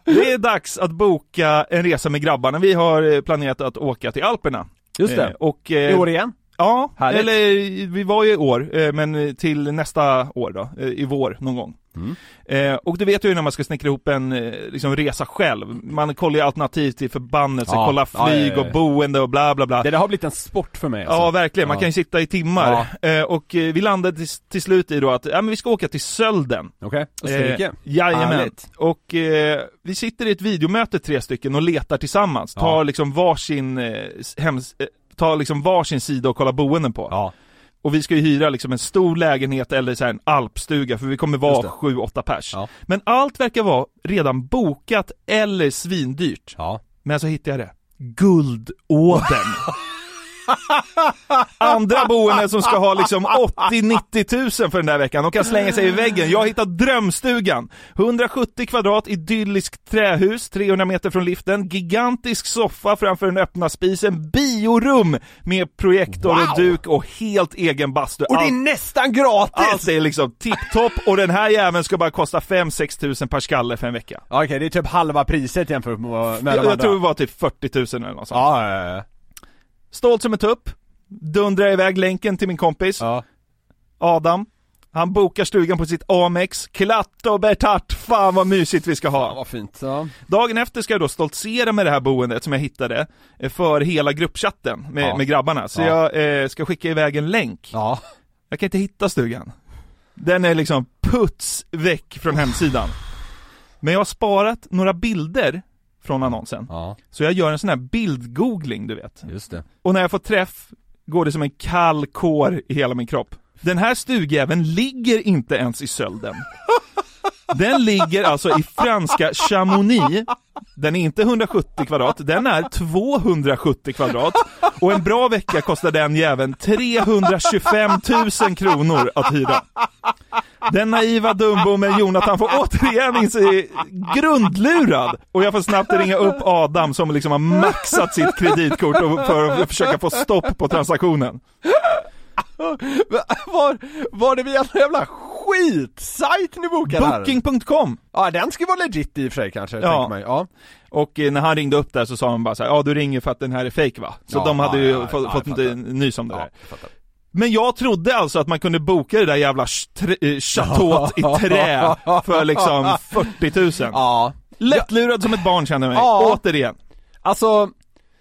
S4: Det är dags att boka en resa med grabbarna. Vi har eh, planerat att åka till Alperna.
S5: Just det.
S4: Eh, och,
S5: I
S4: eh,
S5: år igen?
S4: Ja,
S5: Härligt.
S4: eller eh, vi var ju i år, eh, men eh, till nästa år då, eh, i vår någon gång.
S5: Mm.
S4: Eh, och du vet ju när man ska snickra ihop en eh, liksom, resa själv, man kollar ju alternativ till förbannelse,
S5: Ja.
S4: kollar
S5: Ja,
S4: flyg
S5: ja, ja, ja.
S4: och boende och bla bla bla.
S5: Det där har blivit en sport för mig alltså.
S4: Ja verkligen, man
S5: Ja.
S4: kan ju sitta i timmar. Eh, och eh, vi landade till, till slut i då att, ja men vi ska åka till Sölden.
S5: Okej, Österrike?
S4: Eh, jajamän.
S5: Härligt.
S4: Och eh, vi sitter i ett videomöte tre stycken och letar tillsammans, tar
S5: Ja.
S4: liksom varsin eh, s- hems... Eh, tar liksom varsin sida och kollar boenden på.
S5: Ja.
S4: Och vi ska ju hyra liksom en stor lägenhet eller så här en alpstuga för vi kommer
S5: Just
S4: vara
S5: det.
S4: 7-8 pers.
S5: Ja.
S4: Men allt verkar vara redan bokat eller svindyrt.
S5: Ja.
S4: Men så hittade jag det. Guldådern. Andra boenden som ska ha liksom 80-90 000 för den där veckan, de kan slänga sig i väggen. Jag har hittat drömstugan. 170 kvadrat, idylliskt trähus, 300 meter från liften, gigantisk soffa framför den öppna spisen, biorum med projektor och
S5: Wow!
S4: duk och helt egen bastu.
S5: Och det
S4: Allt-
S5: är nästan gratis!
S4: allt är liksom tipptopp och den här jäveln ska bara kosta 5-6 tusen per skalle för en vecka.
S5: Ja, Okej, det är typ halva priset jämfört med, med de
S4: Jag,
S5: andra.
S4: jag tror det var typ 40 000 eller något sånt.
S5: Ja, ja, ja, ja.
S4: Stolt som en tupp. dundrar jag iväg länken till min kompis Adam. Han bokar stugan på sitt Amex. Klatt och Bertart, fan vad mysigt vi ska ha.
S5: vad fint. Ja.
S4: Dagen efter ska jag då stoltsera med det här boendet som jag hittade eh, för hela gruppchatten med,
S5: Ja.
S4: med grabbarna. Så
S5: Ja.
S4: jag eh, ska skicka iväg en länk.
S5: Ja.
S4: Jag kan inte hitta stugan. Den är liksom puts väck från hemsidan. Men jag har sparat några bilder från annonsen. Så jag gör en sån här bildgoogling, du vet.
S5: Just det.
S4: Och när jag får träff går det som en kall kår i hela min kropp. Den här stugjäveln ligger inte ens i sölden. Den ligger alltså i franska Chamonix. Den är inte 170 kvadrat, den är 270 kvadrat. Och en bra vecka kostar den jäveln 325 000 kronor att hyra. Den naiva Dumbo med Jonathan får återigen in sig grundlurad och jag får snabbt ringa upp Adam som liksom har maxat sitt kreditkort och- för att försöka få stopp på transaktionen.
S5: Var, var det via någon jävla skitsajt ni bokade här?
S4: Booking.com!
S5: Ja den ska vara legit i och för sig kanske,
S4: Ja.
S5: tänker man ju. ja.
S4: Och eh, när han ringde upp där så sa han bara så här, ja du ringer för att den här är fake va? Så
S5: Ja,
S4: de hade
S5: ja,
S4: ju
S5: ja,
S4: fått,
S5: ja, jag
S4: fått
S5: fattar.
S4: en nys om det
S5: Ja,
S4: där.
S5: jag fattar.
S4: Men jag trodde alltså att man kunde boka det där jävla ch- tre- eh, chateauet i trä för liksom 40 000.
S5: ja.
S4: Lättlurad som ett barn känner jag mig,
S5: Ja.
S4: återigen.
S5: Alltså,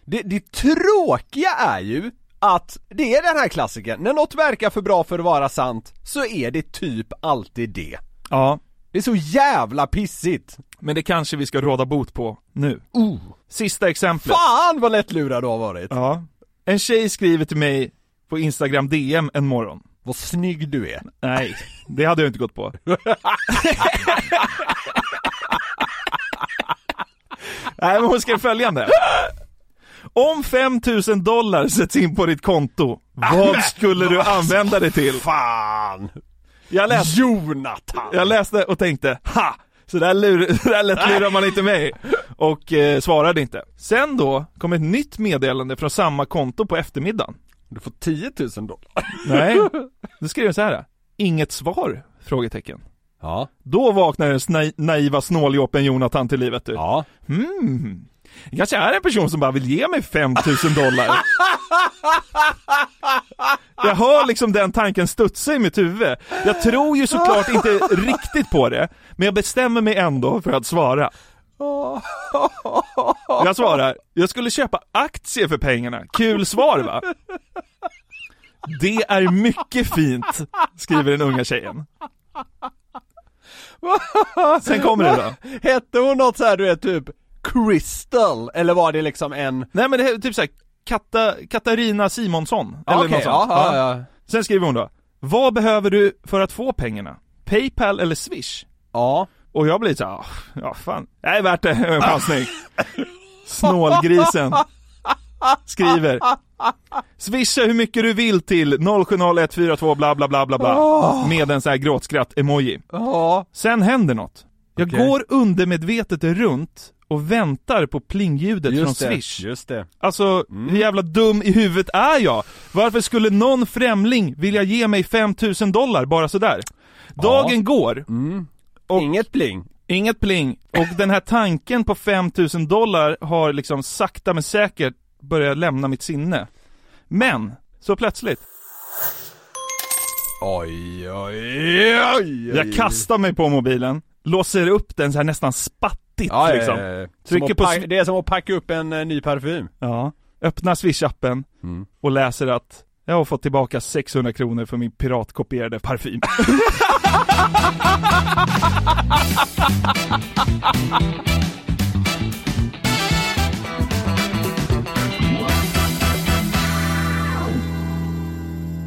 S5: det, det tråkiga är ju att det är den här klassiken när något verkar för bra för att vara sant så är det typ alltid det.
S4: Ja.
S5: Det är så jävla pissigt!
S4: Men det kanske vi ska råda bot på nu. Sista exemplet.
S5: Fan vad lättlurad du har varit!
S4: Ja. En tjej skriver till mig på Instagram DM en morgon.
S5: Vad snygg du är!
S4: Nej, det hade jag inte gått på. Nej, men hon skrev följande. Om 5000 dollar sätts in på ditt konto, vad skulle du använda det till?
S5: Fan!
S4: Jag läste
S5: Jonathan!
S4: Jag läste och tänkte, ha! Så där, lur, så där lätt lurar man inte mig. Och eh, svarade inte. Sen då kom ett nytt meddelande från samma konto på eftermiddagen.
S5: Du får 10 000 dollar.
S4: Nej. Då skrev jag så här. Inget svar? Frågetecken.
S5: Ja.
S4: Då vaknar den sna- naiva snåljåpen Jonathan till livet du.
S5: Ja.
S4: Hmm. Jag kanske är en person som bara vill ge mig 5000 dollar. Jag hör liksom den tanken studsa i mitt huvud. Jag tror ju såklart inte riktigt på det, men jag bestämmer mig ändå för att svara. Jag svarar, jag skulle köpa aktier för pengarna. Kul svar va? Det är mycket fint, skriver den unga tjejen. Sen kommer det då.
S5: Hette hon något så här, du vet typ Crystal, eller var det liksom en...
S4: Nej men det här är typ såhär, Kata, Katarina Simonsson, eller
S5: Okej,
S4: något sånt.
S5: ja,
S4: Ja.
S5: ja, ja.
S4: Sen skriver hon då, vad behöver du för att få pengarna? Paypal eller Swish?
S5: ja.
S4: Och jag blir såhär, ja fan, det är värt det, en chansning. Snålgrisen skriver, swisha hur mycket du vill till 070142 bla bla bla bla bla, med en sån här gråtskratt-emoji.
S5: Ja.
S4: Sen händer något. Jag
S5: Okej.
S4: går undermedvetet runt och väntar på plingljudet från Swish.
S5: Just det.
S4: Alltså,
S5: Mm.
S4: hur jävla dum i huvudet är jag? Varför skulle någon främling vilja ge mig 5000 dollar bara sådär? Dagen går,
S5: Mm. Inget bling.
S4: inget pling, och den här tanken på 5000 dollar har liksom sakta men säkert börjat lämna mitt sinne. Men, så plötsligt,
S5: Oj, oj, oj!
S4: jag kastar mig på mobilen, låser upp den så här nästan spattigt
S5: Ja,
S4: liksom.
S5: ja, ja, ja.
S4: Trycker
S5: Som att
S4: på
S5: pa-
S4: sw-
S5: Det är som att packa upp en eh, ny parfym.
S4: Ja, öppnar swish-appen
S5: Mm.
S4: och läser att jag har fått tillbaka 600 kronor för min piratkopierade parfym.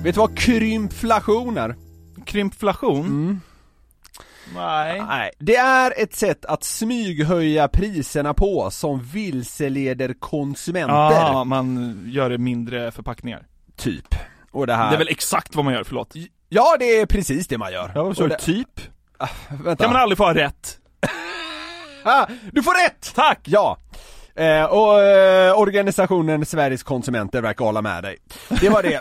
S5: Vet du vad krymflation är?
S4: Krympflation? Nej.
S5: Nej. Det är ett sätt att smyghöja priserna på som vilseleder konsumenter.
S4: Ja, man gör det mindre förpackningar.
S5: Typ. Och det här...
S4: Det är väl exakt vad man gör, förlåt.
S5: Ja, det är precis det man gör.
S4: Ja, så
S5: Och det...
S4: typ?
S5: Vänta.
S4: Kan man aldrig få ha rätt?
S5: Ah, du får rätt!
S4: Tack!
S5: Ja! Eh, och eh, organisationen Sveriges konsumenter verkar hålla med dig. Det var det.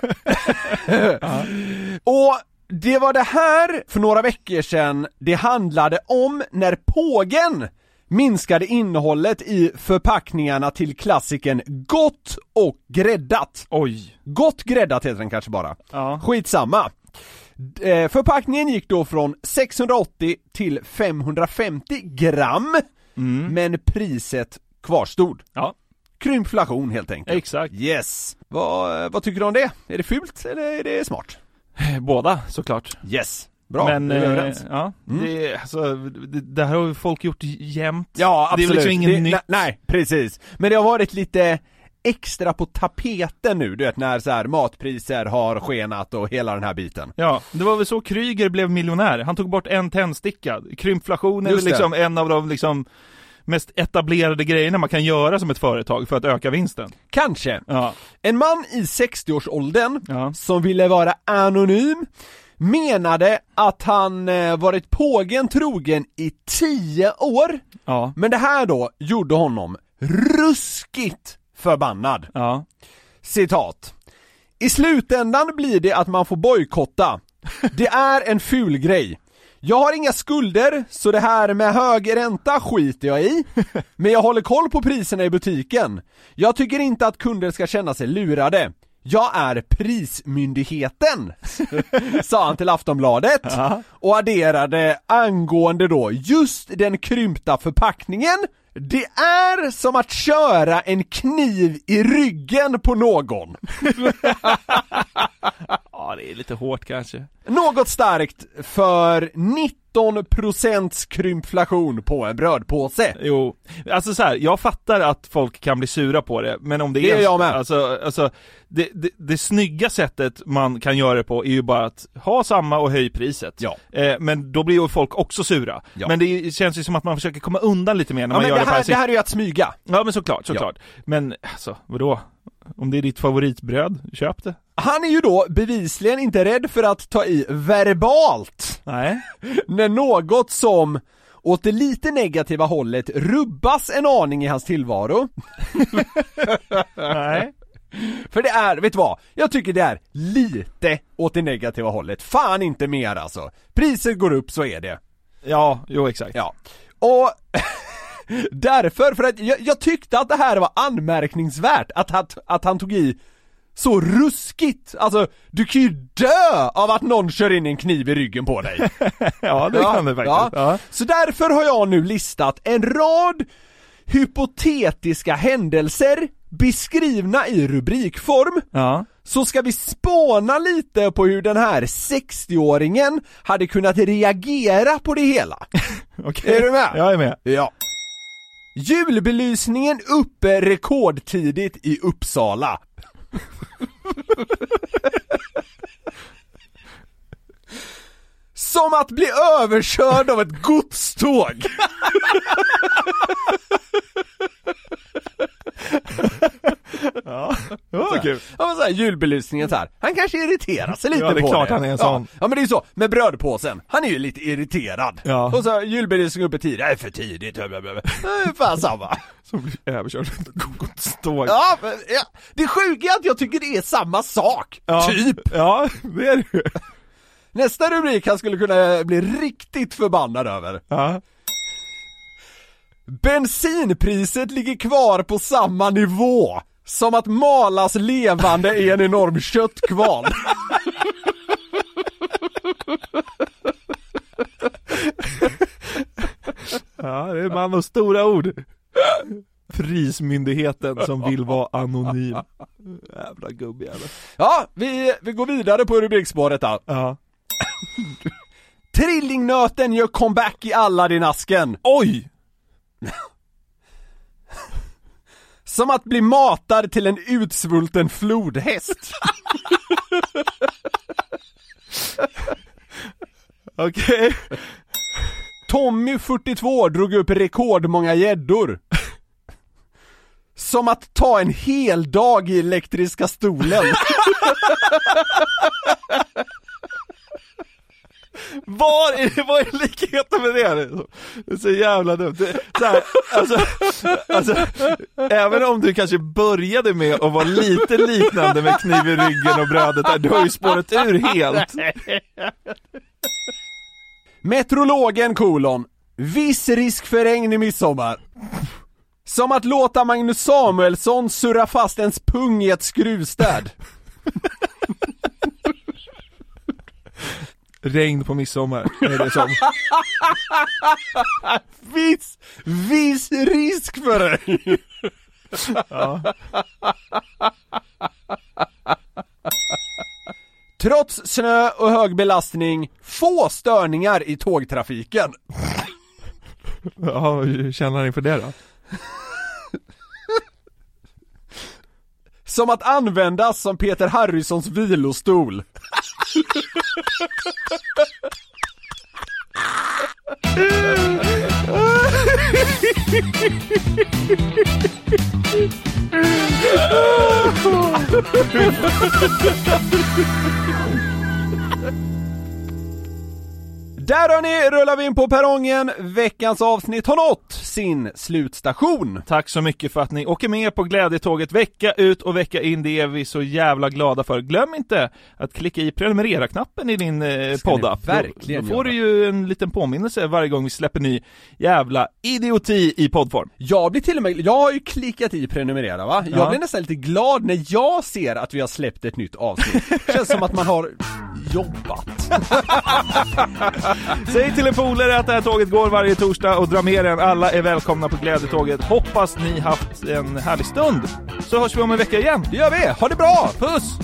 S5: och det var det här för några veckor sedan det handlade om när pågen minskade innehållet i förpackningarna till klassiken gott och gräddat.
S4: Oj.
S5: Gott gräddat heter den kanske bara. Skitsamma. D- eh, Förpackningen gick då från 680 till 550 gram,
S4: Mm.
S5: men priset kvarstod.
S4: Ja.
S5: Krympflation helt enkelt.
S4: Exakt.
S5: Yes. Vad, vad tycker du om det? Är det fult eller är det smart?
S4: Eh, Båda såklart.
S5: Yes. Bra,
S4: Men
S5: då är vi
S4: eh,
S5: överens. Mm.
S4: ja, det, alltså, det, det här har ju folk gjort jämt.
S5: Ja, absolut.
S4: Det är liksom inget
S5: Det-
S4: nytt.
S5: ne- Nej, precis. Men det har varit lite extra på tapeten nu, du vet när så här matpriser har skenat och hela den här biten.
S4: Ja, det var väl så Kryger blev miljonär. Han tog bort en tändsticka. Krympflation är väl
S5: Just det.
S4: liksom en av de liksom mest etablerade grejerna man kan göra som ett företag för att öka vinsten.
S5: Kanske.
S4: Ja.
S5: En man i 60-årsåldern
S4: Ja.
S5: som ville vara anonym menade att han eh, varit pågen trogen i 10 år,
S4: Ja.
S5: men det här då gjorde honom ruskigt förbannad.
S4: Ja.
S5: Citat. I slutändan blir det att man får bojkotta. Det är en ful grej. Jag har inga skulder, så det här med hög ränta skiter jag i. Men jag håller koll på priserna i butiken. Jag tycker inte att kunder ska känna sig lurade. Jag är Prismyndigheten, sa han till Aftonbladet och adderade angående då just den krympta förpackningen. Det är som att köra en kniv i ryggen på någon.
S4: ja, det är lite hårt kanske.
S5: Något starkt för 19% krympflation på en brödpåse.
S4: Jo, alltså så här, jag fattar att folk kan bli sura på det, men om det,
S5: Det
S4: är
S5: är jag med.
S4: Alltså, alltså det, det, det snygga sättet man kan göra det på är ju bara att ha samma och höj priset.
S5: Ja.
S4: Eh, men då blir ju folk också sura.
S5: Ja.
S4: Men det känns ju som att man försöker komma undan lite mer när
S5: Ja,
S4: man
S5: men
S4: gör
S5: det,
S4: det på det här
S5: här, det
S4: sättet.
S5: här är ju att smyga.
S4: Ja men såklart, såklart. Men alltså, vadå? Om det är ditt favoritbröd, köp det.
S5: Han är ju då bevisligen inte rädd för att ta i verbalt.
S4: Nej.
S5: när något som åt det lite negativa hållet rubbas en aning i hans tillvaro.
S4: Nej.
S5: För det är, vet du vad? Jag tycker det är lite åt det negativa hållet. Fan inte mer alltså. Priset går upp så är det.
S4: Ja, jo exakt.
S5: Ja. Och därför, för att jag, jag tyckte att det här var anmärkningsvärt att, att, att han tog i så ruskigt, alltså du kan ju dö av att någon kör in en kniv i ryggen på dig.
S4: Ja, det kan det faktiskt. Ja.
S5: Så därför har jag nu listat en rad hypotetiska händelser beskrivna i rubrikform.
S4: Ja.
S5: Så ska vi spåna lite på hur den här 60-åringen hade kunnat reagera på det hela.
S4: Okej.
S5: Är du med?
S4: Jag är med.
S5: Ja. Julbelysningen uppe rekordtidigt i Uppsala. Som att bli överkörd av ett godståg.
S4: Ja, vad kul.
S5: Ja men såhär julbelysningen så här. han kanske irriterar sig lite
S4: Ja, det är
S5: på
S4: klart
S5: det.
S4: han är en
S5: ja.
S4: sån.
S5: Ja men det är ju så, med brödpåsen, han är ju lite irriterad.
S4: Ja.
S5: Och så julbelysningen uppe tidigt, det är för tidigt, bla, bla, bla. Det är fan samma.
S4: Så blir jag överkörd av ett godståg.
S5: Ja, men, ja, det sjuka är att jag tycker det är samma sak,
S4: Ja.
S5: typ.
S4: Ja, det är det ju.
S5: Nästa rubrik han skulle kunna bli riktigt förbannad över.
S4: Ja.
S5: Bensinpriset ligger kvar på samma nivå. Som att malas levande i en enorm köttkvarn.
S4: ja, det är en man av stora ord. Prismyndigheten som vill vara anonym. Jävla gubbjävel.
S5: Ja, vi, vi går vidare på rubrikspåret då.
S4: Ja.
S5: Trillingnöten gör comeback i Aladdin-asken.
S4: Oj!
S5: Som att bli matad till en utsvulten flodhäst.
S4: Okej.
S5: Tommy 42 drog upp rekordmånga gäddor. Som att ta en hel dag i elektriska stolen.
S4: Var är, vad är likheten med det? Det är så jävla dumt. Det, så här, alltså, alltså, även om du kanske började med att vara lite liknande med kniv i ryggen och brödet där, du har ju spårat ur helt.
S5: Metrologen kolon. Viss risk för regn i midsommar. Som att låta Magnus Samuelsson surra fast ens pung i ett skruvstäd.
S4: Regn på midsommar, är det som.
S5: viss, viss risk för regn. Trots snö och hög belastning, få störningar i tågtrafiken.
S4: Ja, hur känner han inför det då?
S5: Som att användas som Peter Harrisons vilostol. Där hörni, rullar vi in på perrongen. Veckans avsnitt har nått sin slutstation.
S4: Tack så mycket för att ni åker med på Glädjetåget vecka ut och vecka in. Det är vi så jävla glada för. Glöm inte att klicka i prenumerera-knappen i din eh,
S5: ska ni
S4: poddapp.
S5: verkligen
S4: då, då får du
S5: göra.
S4: ju en liten påminnelse varje gång vi släpper ny jävla idioti i poddform.
S5: Jag blir till och med, jag har ju klickat i prenumerera va? Jag
S4: Ja.
S5: blir nästan lite glad när jag ser att vi har släppt ett nytt avsnitt. Känns som att man har jobbat.
S4: Säg till en polare att det här tåget går varje torsdag och dra med den. Alla är välkomna på Glädjetåget. Hoppas ni haft en härlig stund. Så hörs vi om en vecka igen.
S5: Det gör vi, ha det bra! Puss!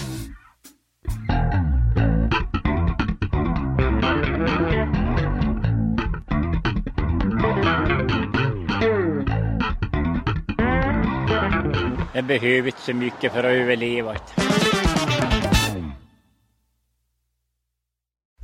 S7: Jag behöver inte så mycket för att överleva.